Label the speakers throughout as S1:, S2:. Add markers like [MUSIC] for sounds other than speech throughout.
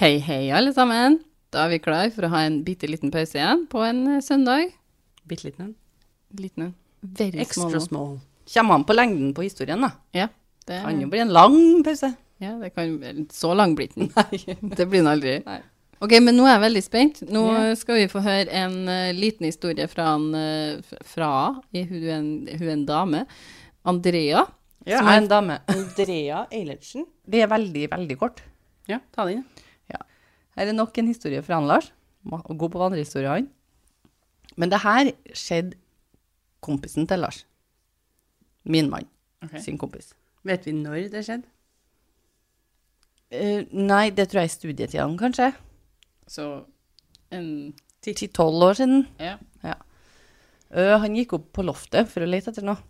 S1: Hei, hei, alle sammen. Da er vi klar for å ha en bitte liten pause igjen på en eh, søndag.
S2: Bitte liten en.
S1: Liten en. Very small
S2: Extra
S1: one.
S2: small. Kommer an på lengden på historien, da.
S1: Ja, det,
S2: Kan jo bli en lang pause.
S1: ja, det kan Så lang blir [LAUGHS] den. Det blir den aldri. Ok, men nå er jeg veldig spent. Nå
S2: Ja.
S1: skal vi få høre en eh, liten historie fra, en, eh, f- fra i- hun, er en, hun er en dame. Andrea.
S2: Ja,
S1: Som er-
S2: en [LAUGHS] dame.
S3: Andrea Eilertsen. Det er veldig, veldig kort.
S2: Ja, ta den.
S3: Her er nok en historie fra han Lars. Ma- God på vandrehistorie, han. Men det her skjedde kompisen til Lars. Min mann
S2: Ok.
S3: sin kompis.
S2: Vet vi når det skjedde?
S3: Eh, nei, det tror jeg er studietiden, kanskje.
S1: Så en
S3: 10-12 år siden.
S1: Ja.
S3: Eh, han gikk opp på loftet for å lete etter noe.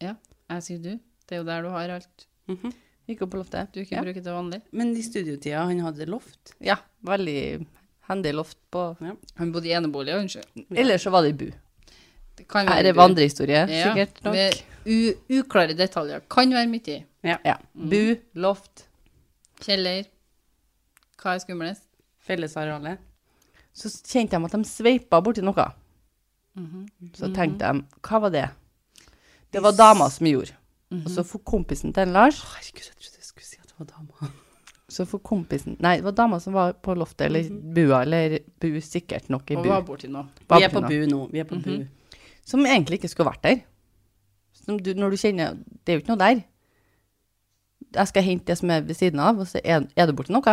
S1: ja. Jeg sier du. Det er jo der du har alt
S2: Mhm.
S3: Gikk opp på loftet.
S1: du ikke
S3: ja.
S1: bruker til vanlig.
S2: Men i studiotida, han hadde loft.
S3: ja, veldig hendig loft på
S1: Han bodde i enebolig, unnskyld.
S3: Eller så var det i bu.
S1: Det kan
S3: Her
S1: være
S3: er vandrehistorie, sikkert nok.
S1: Med u uklare detaljer. Kan være mye. i.
S3: Ja.
S2: Mm.
S3: Bu, loft.
S1: Kjeller. Hva er skumlest?
S2: Fellesarealet.
S3: Så kjente de at de sveipa borti noe.
S1: Mhm.
S3: Så
S2: Mhm.
S3: tenkte de, hva var det? Det var dama som gjorde. Og så for kompisen til en Lars
S2: Mhm. Herregud, jeg trodde jeg skulle si at det var dama.
S3: [LAUGHS] så for kompisen, Nei, det var dama som var på loftet, eller bua, eller bu sikkert nok i
S1: Og
S3: bu.
S1: var borti noe.
S3: Var
S2: Mhm. Vi er
S3: på Mhm.
S2: på bu nå. Vi er på bu.
S3: Som egentlig ikke skulle vært der. Som du, når du kjenner Det er jo ikke noe der. Jeg skal hente det som er ved siden av, og så er, er det borti noe.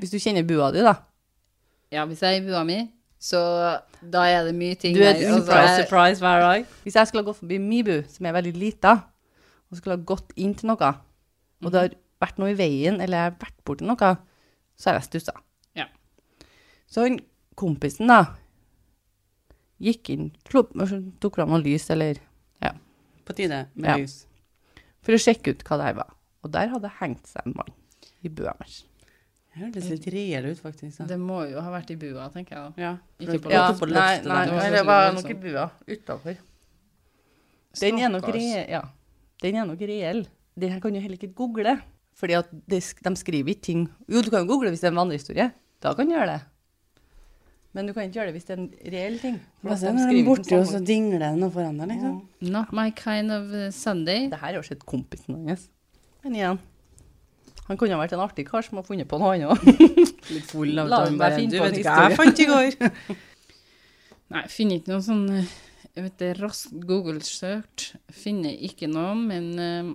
S3: Hvis du kjenner bua di, da.
S1: Ja, hvis jeg er i bua mi, så da er det mye ting
S3: Du er et
S1: altså,
S2: Surprise,
S1: jeg-
S2: surprise hver dag.
S3: Hvis jeg skulle ha gått forbi Mibu, som er veldig lita, og skulle ha gått inn til noe, og det
S1: Mhm.
S3: har vært noe i veien, eller jeg har vært borti noe, så har jeg stussa.
S1: Ja.
S3: Så han kompisen, da, gikk inn, slo, tok fram noe lys, eller ja,
S2: På tide med
S3: Ja.
S2: lys.
S3: for å sjekke ut hva det her var. Og der hadde det hengt seg en mann i bua hans.
S2: Det høres litt reell ut, faktisk. Da.
S1: Det må jo ha vært i bua, tenker jeg da.
S2: Ja.
S1: Ikke på
S2: ja,
S1: Ja,
S2: på loftet
S1: nei,
S2: der.
S1: nei. det var nok i
S3: bua utafor. Den er nok
S1: Stakkars.
S3: reell. Ja. Den er nok reell. Den her kan du heller ikke google. Fordi at de, sk- de skriver ikke ting Jo, du kan jo google hvis det er en vandrehistorie. Da kan du gjøre det. Men du kan ikke gjøre det hvis det er en reell ting. For
S2: Hva
S3: at
S2: ser
S3: de
S2: du når de
S3: skriver
S2: er borte,
S3: ikke
S2: og
S3: sammen.
S2: så dingler den og forandrer,
S1: Mm.
S2: liksom?
S1: Not my kind of eh, Sunday.
S3: Det her har jo sett kompisen hans. Men igjen. Han kunne ha vært en artig kar som har funnet på noe, han òg.
S2: Litt full av
S3: La
S2: dem,
S3: meg
S2: bare,
S3: finne
S2: Du
S3: på en
S2: vet ikke hva jeg fant i går.
S1: Nei, finner ikke noen sånn eh, jeg vet det, raskt Google-søkt. Finner ikke noe, men eh,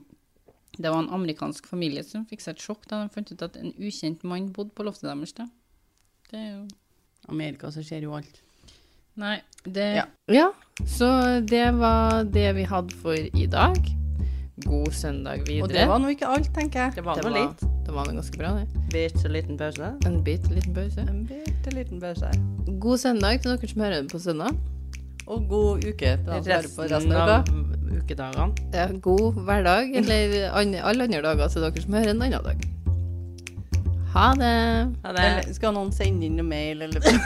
S1: det var en amerikansk familie som fikk seg et sjokk da de fant ut at en ukjent mann bodde på loftet deres. Da. Det er jo
S2: [LAUGHS] Amerika, så skjer jo alt.
S1: Nei, det
S3: Ja.
S1: ja. Så det var det vi hadde for i dag. God søndag videre.
S3: Og det var nå ikke alt, tenker jeg.
S1: det var,
S3: det var litt.
S1: Det var noe ganske bra, det.
S2: Bitte liten pause.
S1: En bitte liten pause.
S3: En bitte liten pause.
S1: God søndag til dere som hører det på søndag.
S3: Og god uke til dere som hører på resten
S2: Resten
S3: av uka.
S2: av ukedagene.
S1: Ja, god hverdag, eller an- alle andre dager til dere som hører en annen dag. Ha det!
S2: Ha
S3: Eller skal noen sende inn noe mail, eller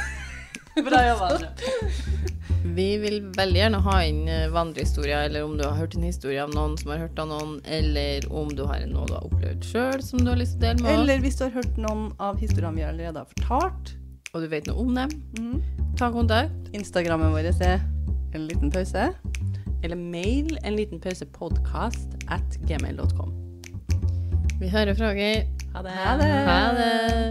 S2: Bra jobba. Andrea.
S1: Vi vil veldig gjerne ha inn eh, vandrehistorier, eller om du har hørt en historie av noen som har hørt av noen, eller om du har noe du har opplevd sjøl som du har lyst til å dele med oss,
S3: Eller hvis du har hørt noen av historiene vi allerede har fortalt.
S1: og du vet noe om dem, ta kontakt.
S3: Instagrammen vår er en liten pause.
S2: Eller mail en liten pause podcast at gmail.com.
S1: Vi hører fra dere.
S2: Ha det.
S1: Ha det!